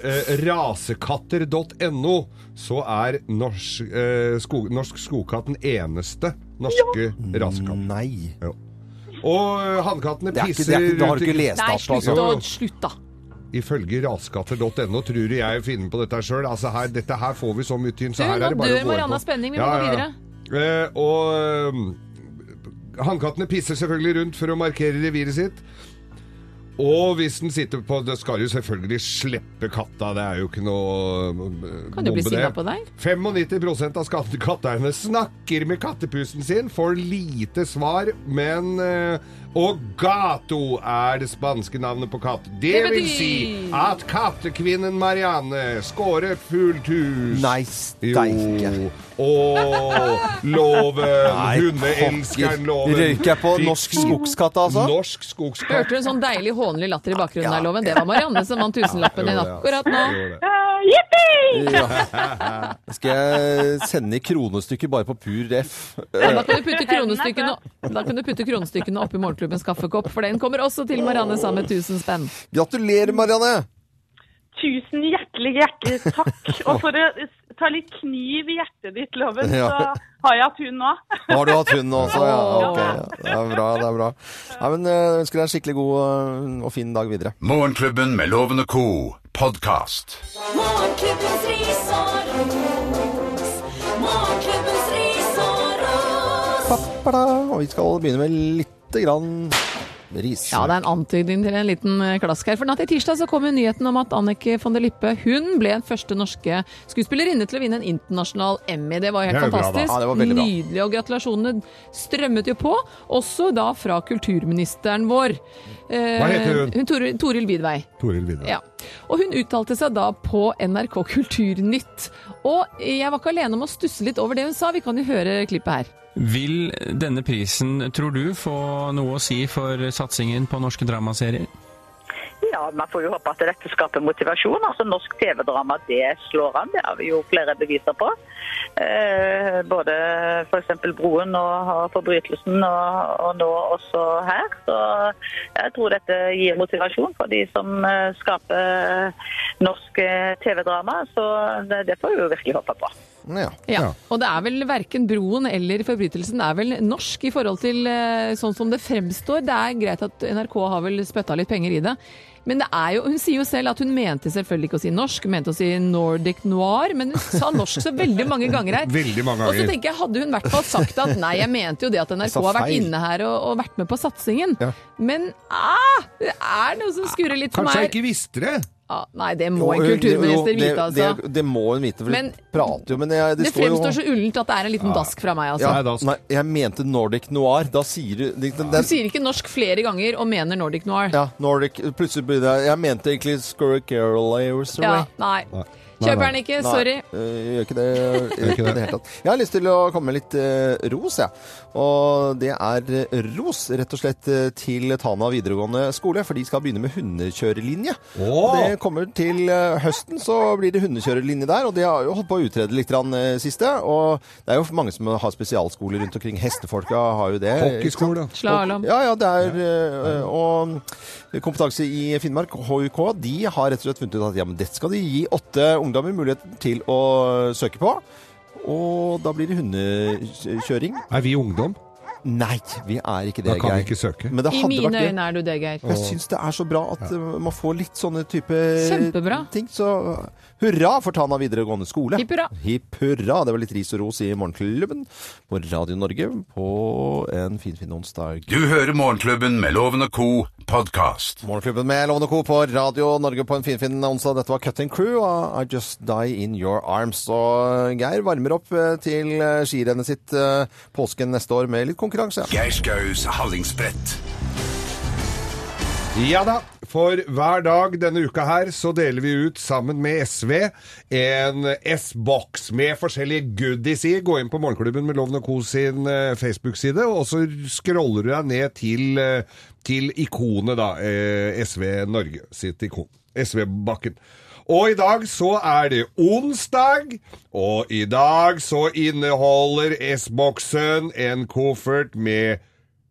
S4: eh, rasekatter.no så er norsk, eh, skog, norsk skogkatt den eneste norske rasekatten.
S2: Nei.
S4: Jo. Og eh, hannkattene
S2: Det er ikke,
S4: pisser
S2: det er ikke, da har
S4: ut
S2: du
S4: i-
S2: ikke lest
S5: Nei,
S2: opp,
S5: slutt,
S2: altså.
S5: da,
S4: Jo.
S5: slutt da.
S4: Ifølge rasekatter.no tror du jeg finner på dette sjøl. Altså her, dette her får vi så mye tynn, så
S5: Du,
S4: her
S5: nå
S4: er det bare å
S5: dør
S4: gå inn på.
S5: Marianne av spenning. Vi må gå videre.
S4: Eh, og eh, hannkattene pisser selvfølgelig rundt for å markere reviret sitt. Og hvis den sitter på Det skal jo selvfølgelig slippe katta, det er jo ikke noe eh,
S5: Kan du bli
S4: bombe,
S5: sinna
S4: det.
S5: på deg?
S4: 95 av skatte- katteeierne snakker med kattepusen sin, får lite svar, men eh, Og gato er det spanske navnet på katt. Det
S5: Det
S4: vil
S5: betyr-
S4: si at kattekvinnen Marianne skårer fullt hus.
S2: Nei, steike.
S4: Jo. Og loven,
S2: Nei,
S4: hundeelskeren
S2: pokker.
S4: loven.
S2: Røyker jeg på
S4: Fikk-
S2: norsk skogskatt, altså?
S4: Norsk skogskatt.
S5: Hørte du en sånn deilig hånlig latter i bakgrunnen der, Loven? Det var Marianne som vant tusenlappen din
S4: Ja, jo, det,
S5: akkurat nå.
S4: altså. Jo, det.
S2: Ja. Skal jeg sende i kronestykker bare på pur F?
S5: Da kan du putte kronestykkene, da kan du putte kronestykkene oppi morgenklubbens kaffekopp, for den kommer også til Marianne sammen med 1000 spenn.
S2: Gratulerer, Marianne!
S10: Tusen hjertelig hjertelig takk. Og for å ta litt kniv i hjertet ditt, Loven,
S2: Ja.
S10: så har jeg hatt hun nå.
S2: Har du hatt hund også? Ja, ok. Det er bra. det er bra. Nei, men eh, Ønsker deg en skikkelig god eh, og fin dag videre.
S1: Morgenklubben med Loven og co. podkast.
S11: Morgenklubbens ris og ros. Morgenklubbens ris og ros.
S2: Pappada. Og vi skal begynne med lite grann ris.
S5: Ja, det er en antydning til en liten eh, klask her. For natt til tirsdag så kom jo nyheten om at Annike von der Lippe hun ble den første norske skuespillerinne til å vinne en internasjonal Emmy. Det var jo helt
S4: Det er jo bra, da.
S5: fantastisk.
S2: Ja, det var veldig bra.
S5: Nydelig. Og gratulasjonene strømmet jo på, også da fra kulturministeren vår. Eh,
S4: Hva heter hun?
S5: Hun Tor Toril Vidvei.
S4: Toril Vidar.
S5: Ja. Og hun uttalte seg da på NRK Kulturnytt. Og jeg var ikke alene om å stusse litt over det hun sa. Vi kan jo høre klippet her.
S11: Vil denne prisen, tror du, få noe å si for satsingen på norske dramaserier?
S10: Ja, man får jo håpe at dette skaper motivasjon. Altså Norsk TV-drama, det slår an. Det har vi jo flere beviser på. Eh, både f.eks. Broen og, og Forbrytelsen, og, og nå også her. Så jeg tror dette gir motivasjon for de som eh, skaper norsk eh, TV-drama. Så det, det får vi jo virkelig håpe på.
S2: Mm, Ja.
S5: Ja. Og det er vel verken Broen eller Forbrytelsen er vel norsk i forhold til eh, sånn som det fremstår. Det er greit at NRK har vel spytta litt penger i det. Men det er jo, hun sier jo selv at hun mente selvfølgelig ikke å si norsk, hun mente å si Nordic noir, men hun sa norsk så veldig mange ganger
S2: [LAUGHS]
S5: her.
S4: Veldig mange
S5: Og så
S4: ganger.
S5: tenker jeg, hadde hun i hvert fall sagt at nei, jeg mente jo det at NRK
S2: Sa
S5: har vært
S2: feil.
S5: inne her og, og vært med på satsingen.
S2: Ja.
S5: Men ah, det er noe som skurrer litt for
S4: Kanskje jeg
S5: meg.
S4: ikke visste det?
S5: Ah, nei, det må en
S2: Jo,
S5: kulturminister
S2: jo, det-
S5: vite, altså.
S2: Det, det må hun vite, for
S5: Men-
S2: hun prater jo, men jeg, det,
S5: Det
S2: står jo
S5: fremstår så ullent at det er en liten dask fra meg, altså.
S2: ja,
S4: Nei, da-
S2: nei, jeg mente Nordic noir. Da sier du det, det,
S5: Du sier ikke norsk flere ganger og mener Nordic Noir.
S2: Ja, Nordic Plutselig blir det Jeg mente egentlig Score Carol
S5: Ja, nei. Kjøper den ikke, sorry.
S2: Nei, øh, gjør ikke det gjør ikke det i det hele tatt. Jeg har lyst til å komme med litt eh, ros, jeg. Og det er eh, ros, rett og slett, eh, til Tana videregående skole, for de skal begynne med hundekjørelinje. Og Det kommer til eh, høsten, så blir det hundekjørelinje der, og de har jo holdt på å utrede litt grann, eh, siste. Og det er jo mange som har spesialskoler rundt omkring. Hestefolka har jo det.
S4: Hockeyskole.
S5: Slalåm.
S2: Ja, ja, det er eh, Og eh, Kompetanse i Finnmark, HUK, de har rett og slett funnet ut at ja, men dette skal de gi åtte ungdommer muligheten til å søke på. Og da blir det hundekjøring.
S4: Er vi ungdom?
S2: Nei, vi er ikke
S4: Da
S2: det,
S4: kan vi ikke søke.
S2: Men det
S5: I
S2: hadde
S5: mine
S2: vært
S5: øyne er du det, Geir.
S2: Jeg syns det er så bra at eh, man får litt sånne type
S5: Kjempebra.
S2: ting. Så hurra for Tana videregående skole.
S5: Hipp hurra.
S2: Hipp hurra. Det var litt ris og ros i Morgenklubben på Radio Norge på en finfin onsdag.
S1: Du hører Morgenklubben med Loven og co. podkast.
S2: Morgenklubben med Lovende Co. på Radio Norge på en finfin onsdag. Dette var Cutting Crew og I Just Die In Your Arms. Og Geir varmer opp eh, til eh, skirennet sitt eh, påsken neste år med litt konkurranse.
S1: Geir Skaus Hallingsbrett.
S4: Ja da, for hver dag denne uka her så deler vi ut sammen med SV en S-boks med forskjellige goodies i. Gå inn på Morgenklubben med Loven og Co sin eh, Facebook-side, og så scroller du deg ned til, eh, til ikonet, da. eh, SV Norge sitt ikon. SV-bakken. Og i dag så er det onsdag, og i dag så inneholder S-boksen en koffert med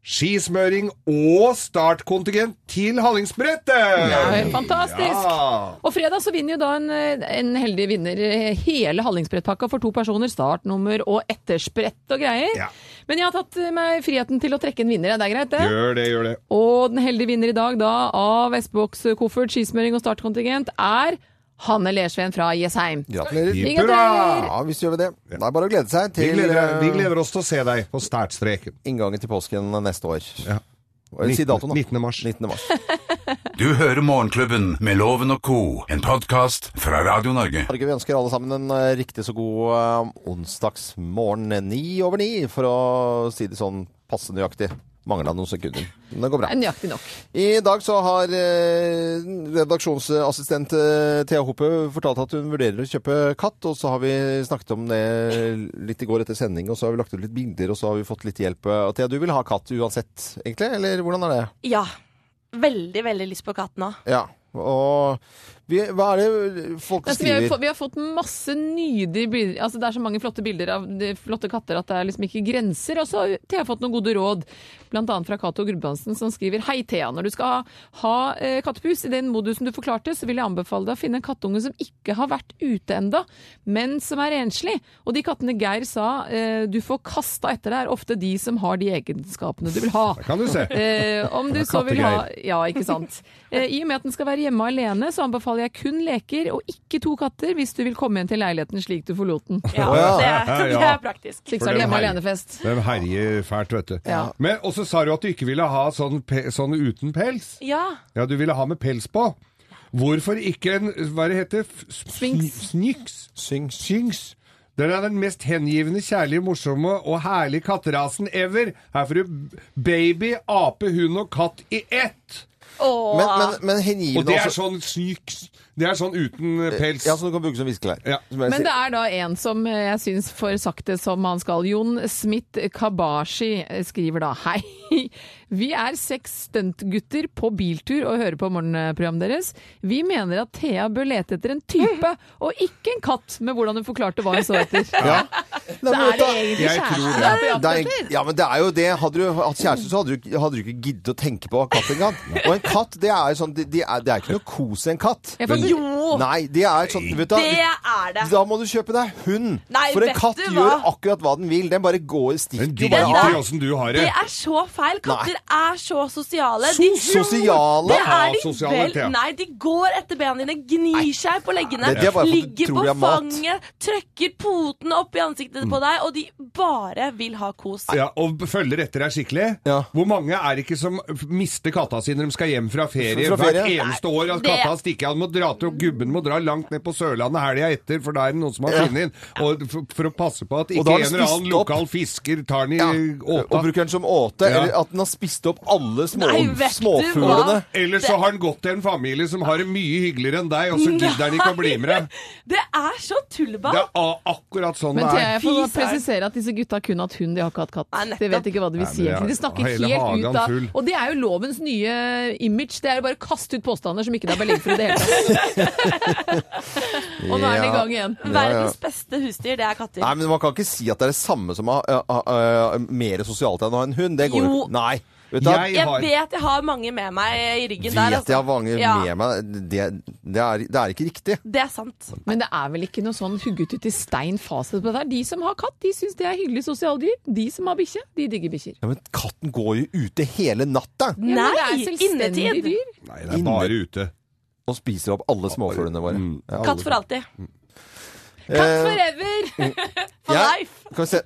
S4: skismøring og startkontingent til Hallingsbrettet!
S5: Ja, fantastisk!
S4: Ja.
S5: Og fredag så vinner jo da en, en heldig vinner hele Hallingsbrettpakka for to personer. Startnummer og ettersprett og greier.
S4: Ja.
S5: Men jeg har tatt meg friheten til å trekke en vinner, ja. det er greit det?
S4: Gjør det, gjør det.
S5: Og den heldige vinner i dag da av S-boks-koffert, skismøring og startkontingent er Hanne Lersveen fra Jessheim.
S2: Gratulerer.
S5: Hipp hurra!
S2: Ja, visst gjør vi det. Det er bare å glede seg
S4: Vi
S2: til
S4: gleder, vi
S2: eh,
S4: gleder oss til å se deg på startstreken.
S2: inngangen til påsken neste år.
S4: Nitten-
S2: Si datoen, da.
S4: 19. mars.
S2: 19. mars.
S1: Du hører Morgenklubben med Loven og co., en podkast fra Radio Norge.
S2: Norge, vi ønsker alle sammen en eh, riktig så god eh, onsdagsmorgen eh, ni over ni, for å si det sånn passe nøyaktig. Mangla noen sekunder. Men det går bra.
S5: Det er Nøyaktig nok.
S2: I dag så har eh, redaksjonsassistent eh, Thea Hoppe fortalt at hun vurderer å kjøpe katt, og så har vi snakket om det litt i går etter sending, og så har vi lagt ut litt bilder, og så har vi fått litt hjelp. Og Thea, du vil ha katt uansett, egentlig? Eller hvordan er det?
S3: Ja. Veldig, veldig lyst på katt nå.
S2: Ja. Og vi, hva er det folk
S5: Altså, vi, har, jo
S2: skriver?
S5: fått- vi har fått masse nydelige bilder. Altså, det er så mange flotte bilder av de flotte katter at det er liksom ikke grenser. Og så har Thea fått noen gode råd, bl.a. fra Cato Gudbrandsen, som skriver Hei, Thea. Når du skal ha, ha eh, kattepus i den modusen du forklarte, så vil jeg anbefale deg å finne en kattunge som ikke har vært ute enda, men som er enslig. Og de kattene Geir sa eh, du får kasta etter deg, er ofte de som har de egenskapene du vil ha.
S4: Kan du se.
S5: Eh, om du så vil ha Ja, ikke sant. Eh, I og med at den skal være hjemme alene, så anbefaler jeg kun leker og ikke to katter hvis du vil komme igjen til leiligheten slik du forlot den.
S3: Ja,
S4: Ja.
S3: det, er- [LAUGHS] det
S4: Ja.
S3: er praktisk.
S5: Så ikke
S4: For
S5: så er det
S4: den
S5: hjemme
S4: her-
S5: alene-fest.
S4: Den herjer fælt, vet du.
S5: Ja.
S4: Men, og så sa du at du ikke ville ha sånn, pe sånn uten pels.
S3: Ja.
S4: Ja, du ville ha med pels på. Hvorfor ikke en Hva det heter det?
S5: Sphinx.
S4: Snyks. Syngs. Den er den mest hengivne, kjærlige, morsomme og herlige katterasen ever. Her får du baby, ape, hund og katt i ett.
S3: Åh.
S2: Men, men, men
S4: Og
S2: hengivende
S4: det er
S2: også.
S4: sånn snyks. Det er sånn uten pels.
S2: Eh, Ja, så du kan bruke som viskelær.
S4: Ja.
S2: Som jeg
S5: Men
S2: sier.
S5: det er da en som eh, jeg syns får sagt det som han skal. Jon Smith Kabashi eh, skriver da Hei, [LAUGHS] vi er seks stuntgutter på biltur og hører på morgenprogrammet deres. Vi mener at Thea bør lete etter en type, og ikke en katt, med hvordan hun forklarte hva hun [LAUGHS] så etter.
S2: Ja.
S5: Så er det
S2: det
S5: egentlig
S4: Jeg tror
S5: kjæresten
S4: det.
S5: du er på
S2: er-
S5: jakt etter?
S2: ja, men det er jo det. Hadde du hatt kjæreste, så hadde du, ikke- hadde du ikke giddet å tenke på katt engang. Og en katt, det er jo sånn de, de er, Det er ikke noe kos i en katt.
S5: Jeg får-
S3: Jo,
S2: Nei, det er sånn Vet du
S3: det
S2: hva,
S3: er det.
S2: da må du kjøpe deg hund.
S3: Nei,
S2: For en
S3: vet
S2: katt
S3: du
S2: gjør
S3: hva?
S2: akkurat hva den vil. Den bare går
S4: Men
S2: stikker jo bare
S4: driter
S2: av.
S4: i åssen du har det.
S3: Det er så feil. Katter er så sosiale.
S2: So- [LAUGHS] sosiale?
S3: Det er de
S4: Asosiale,
S3: vel
S4: Thea.
S3: Nei, de går etter bena dine, gnir seg på leggene,
S2: Det- det er bare for at du
S3: ligger
S2: tror
S3: på
S2: de har mat. Mm.
S3: fanget, trøkker potene opp i ansiktet på deg, og de bare vil ha kos.
S4: Ja, og følger etter deg skikkelig.
S2: Ja.
S4: Hvor mange er det ikke som mister katta si når de skal hjem fra ferie,
S2: Fra ferie?
S4: hvert eneste år? At
S3: det-
S4: katta stikker av, den må dra til, og gubben må dra langt ned på Sørlandet helga etter, for da er det noen som har funnet den. Og for, for å passe på at
S2: Og da
S4: ikke
S2: har
S4: en
S2: den
S4: eller annen
S2: spist opp.
S4: lokal fisker tar den i
S2: Og
S4: åta.
S2: bruker den som åte.
S4: Ja.
S2: Eller at den har spist opp alle små,
S3: Nei, vet du hva?
S2: småfuglene.
S4: Eller så har den gått til en familie som har det mye hyggeligere enn deg, og så gidder den ikke å bli med deg.
S3: Det er så tullball.
S4: Det er a- akkurat sånn
S5: Men
S4: det
S5: Thea,
S4: er.
S5: jeg får bare
S3: Fis er-
S5: presisere at disse gutta har kun hatt hund, de har ikke hatt
S3: Nei,
S5: katt.
S3: nettopp.
S5: De vet ikke hva det vil
S4: Nei,
S5: si
S4: men det er-
S5: egentlig. De snakker
S4: hele
S5: helt
S4: hagen
S5: ut av
S4: full.
S5: Og det er jo lovens nye image. Det er jo bare å kaste ut påstander som ikke det er belegg for i det hele tatt.
S4: [LAUGHS]
S5: Og nå er den i gang igjen.
S3: Verdens beste husdyr, det er katter.
S2: Nei, men man kan ikke si at det er det samme som å ha ø, ø, ø, mer sosialt enn å ha en hund. Det går jo
S3: Jo.
S2: ikke. Nei. Vet du, hva?
S4: Jeg
S3: jeg
S4: har-
S3: vet jeg har mange med meg i ryggen der.
S2: vet
S3: altså.
S2: jeg har mange
S3: Ja,
S2: med meg. Det, det, er, det er ikke riktig.
S3: Det er sant.
S5: Men det er vel ikke noe sånn hugget ut i stein fasit på det her. De som har katt, de syns det er hyggelig sosiale dyr. De som har bikkje, de digger bikkjer.
S2: Ja, men katten går jo ute hele natta
S5: Ja, men det er
S3: Nei,
S5: selvstendige
S3: innetid.
S5: dyr.
S4: Nei, det er bare ute.
S2: og spiser opp alle småfuglene våre. Ja, alle.
S3: Katt for alltid.
S5: Katt
S2: Mm. Eh,
S5: forever!
S3: [LAUGHS] For
S2: ja.
S3: life.
S2: Skal vi se.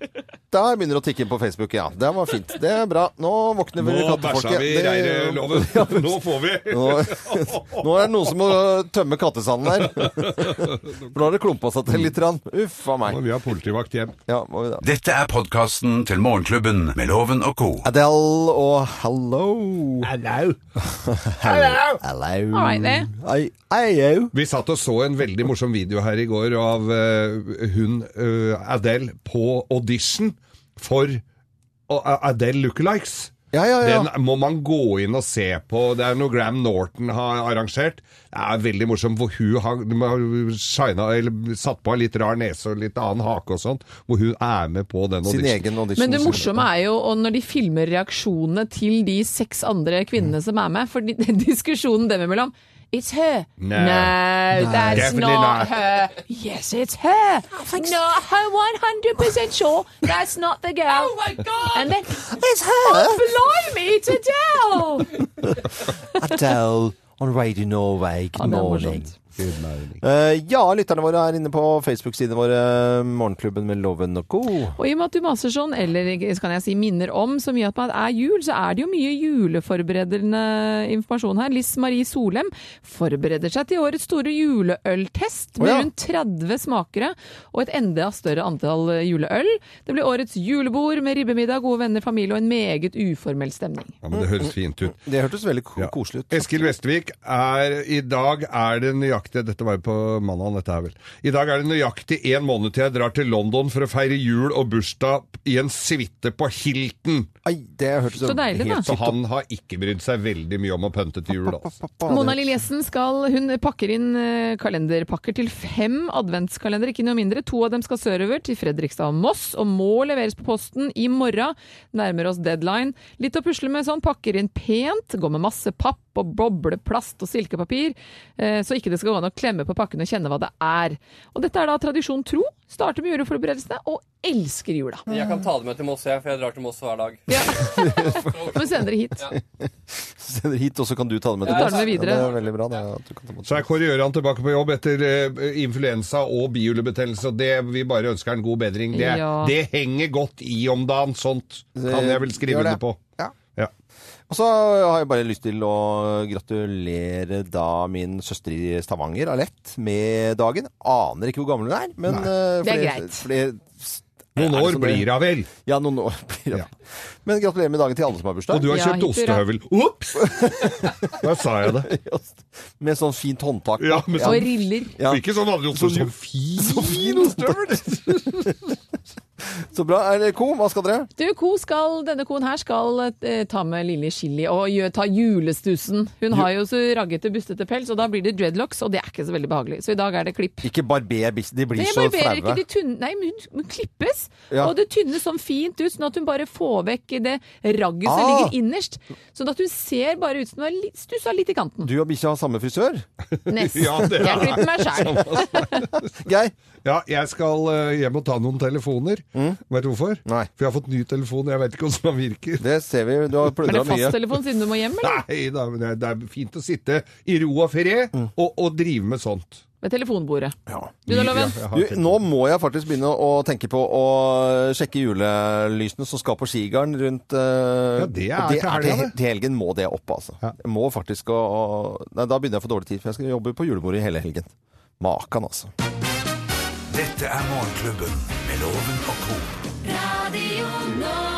S2: Der begynner det å tikke inn på Facebook, ja. Det var fint. Det er bra. Nå våkner vi
S4: Nå bæsja
S2: kattefolket.
S4: vi
S2: Det-
S4: reirloven. Nå får vi!
S2: [LAUGHS] Nå, nå er det noen som må tømme kattesanden [LAUGHS] her. For nå har det klumpa seg til litt. grann. Uff a
S4: Nå
S2: meg.
S4: må vi ha politivakt hjem.
S2: Ja, må vi da.
S1: Dette er podkasten til Morgenklubben med Loven og co.
S2: Adele og Hello. Hello. Hello.
S5: All right, det.
S2: I, I, you.
S4: Vi satt og så en veldig morsom video her i går av eh, hun eh, Adele på audition for uh, Adele Lookalikes.
S2: ja.
S4: Den må man gå inn og se på. Det er noe Gram Norton har arrangert. Det er veldig morsomt, hvor hun har de har shina, eller satt på en litt rar nese og litt annen hake og sånt, hvor hun er med på den
S2: Sin
S4: auditionen.
S2: egen audition.
S4: Sånn
S5: Men det morsomme er jo og når de filmer reaksjonene til de seks andre kvinnene
S4: Mm.
S5: som er med, for de, [LAUGHS] diskusjonen dem imellom It's her.
S4: No.
S5: no that's
S4: Definitely
S5: not,
S4: not.
S5: her. Yes, it's her. No, I'm 100% sure that's not the girl. Oh my God. And then, it's her. Oh, blimey, it's Adele.
S4: [LAUGHS]
S2: Adele on Radio Norway. Good
S5: Ja, det er
S2: morning.
S5: morsomt.
S2: Eh, ja, lytterne våre er inne på Facebook-sidene våre. Morgenklubben med Loven og Co.
S5: Og i og med at du maser sånn, eller så kan jeg si minner om så mye at man er jul, så er det jo mye juleforberedende informasjon her. Liss Marie Solem forbereder seg til årets store
S12: Å
S5: juleøltest med
S12: ja.
S5: rundt 30 smakere og et enda større antall juleøl. Det blir årets julebord med ribbemiddag, gode venner, familie og en meget uformell stemning.
S4: Ja, men det høres fint ut.
S2: Det hørtes veldig koselig ut.
S4: Eskil Vestvik, er, i dag er det nøyaktig Dette var jo på mandag, dette her vel. I dag er det nøyaktig én måned til jeg drar til London for å feire jul og bursdag i en suite på Hilton.
S5: Så deilig, da.
S4: Så han har ikke brydd seg veldig mye om å pønte til jul, altså.
S5: Mona
S2: [LAUGHS]
S5: Lillessen skal, hun pakker inn eh, kalenderpakker til fem adventskalendere, ikke noe mindre. To av dem skal sørover, til Fredrikstad og Moss, og må leveres på posten i morgen. Nærmer oss deadline. Litt å pusle med sånn, pakker inn pent, går med masse papp og bobleplast og silkepapir, eh, så ikke det skal gå an å klemme på pakken og kjenne hva det er. Og dette er da tradisjon tro. Starter med juleforberedelsene, og elsker jula.
S13: Jeg kan ta det med til Moss, jeg, for jeg drar til Moss hver dag.
S5: Men send dere hit.
S2: Sender hit, og så kan du ta det med
S5: Jeg tar det med videre.
S2: Ja, det er veldig bra. Det, er at du kan ta med.
S4: Så er Kåre Gjøran tilbake på jobb etter eh, influensa og bihulebetennelse, og det vi bare ønsker er en god bedring. Det,
S2: Ja.
S4: det henger godt i om dagen, sånt kan jeg vel skrive
S2: Gjør det.
S4: under på. Ja.
S2: Og så har jeg bare lyst til å gratulere da min søster i Stavanger, Alette, med dagen. Aner ikke hvor gammel hun er, men eh,
S4: Det er
S2: fordi-
S4: greit.
S2: fordi- Er
S4: Noen
S2: det
S4: år
S2: sånn
S4: blir hun vel?
S2: Ja, noen år [LAUGHS] blir hun vel. Men gratulerer med dagen til alle som har bursdag.
S4: Og du har Ja, kjøpt hipp hurra. ostehøvel. Ops! [LAUGHS] Da sa jeg det.
S2: [LAUGHS] Med sånn fint håndtak.
S4: Ja, med sånn- Og riller.
S2: Ja.
S4: Ikke sånn vanlig ostehøvel, sånn fin
S2: [LAUGHS] ostehøvel. Så bra. Er det Ko, hva skal dere?
S5: Du, ko skal, denne koen her skal eh, ta med lille chili og gjø, ta julestussen. Hun har jo så raggete, bustete pels, og da blir det dreadlocks, og det er ikke så veldig behagelig. Så i dag er det klipp.
S2: Ikke barber biss- de blir
S5: Det
S2: så
S5: barberer ikke,
S2: flaue.
S5: de tynne, nei, men hun- hun klippes,
S2: Ja.
S5: og det tynnes sånn fint ut, sånn at hun bare får vekk det ragget som
S2: Ah!
S5: ligger innerst. Sånn at hun ser bare ut som hun har li- stussa litt i kanten.
S2: Du og bikkja har samme frisør?
S5: Nesten. [LAUGHS] Ja, det Jeg er- Sånn klipper meg [LAUGHS] selv.
S2: Geir?
S4: [LAUGHS] Ja, jeg skal eh, hjem og ta noen telefoner. Vet du hvorfor? For jeg har fått ny telefon, jeg vet ikke hvordan den virker.
S2: Det ser vi, du har
S5: Er det fasttelefon siden du må hjem, eller?
S4: Nei da, men det er- det er fint å sitte i ro og fred og, og drive med sånt.
S5: Ved telefonbordet. Du da, Loven?
S4: Ja, jeg har
S2: Du,
S4: tenkt-
S2: nå må jeg faktisk begynne å tenke på å sjekke julelysene som skal på skigarden rundt eh,
S4: Ja, det er
S2: og
S4: til helga, det.
S2: Til helgen må det opp, altså. Jeg Må faktisk å, å Nei, da begynner jeg å få dårlig tid, for jeg skal jobbe på julebordet hele helgen. Makan, altså.
S1: Dette er Morgenklubben med Loven og Co.
S12: Radio Norge.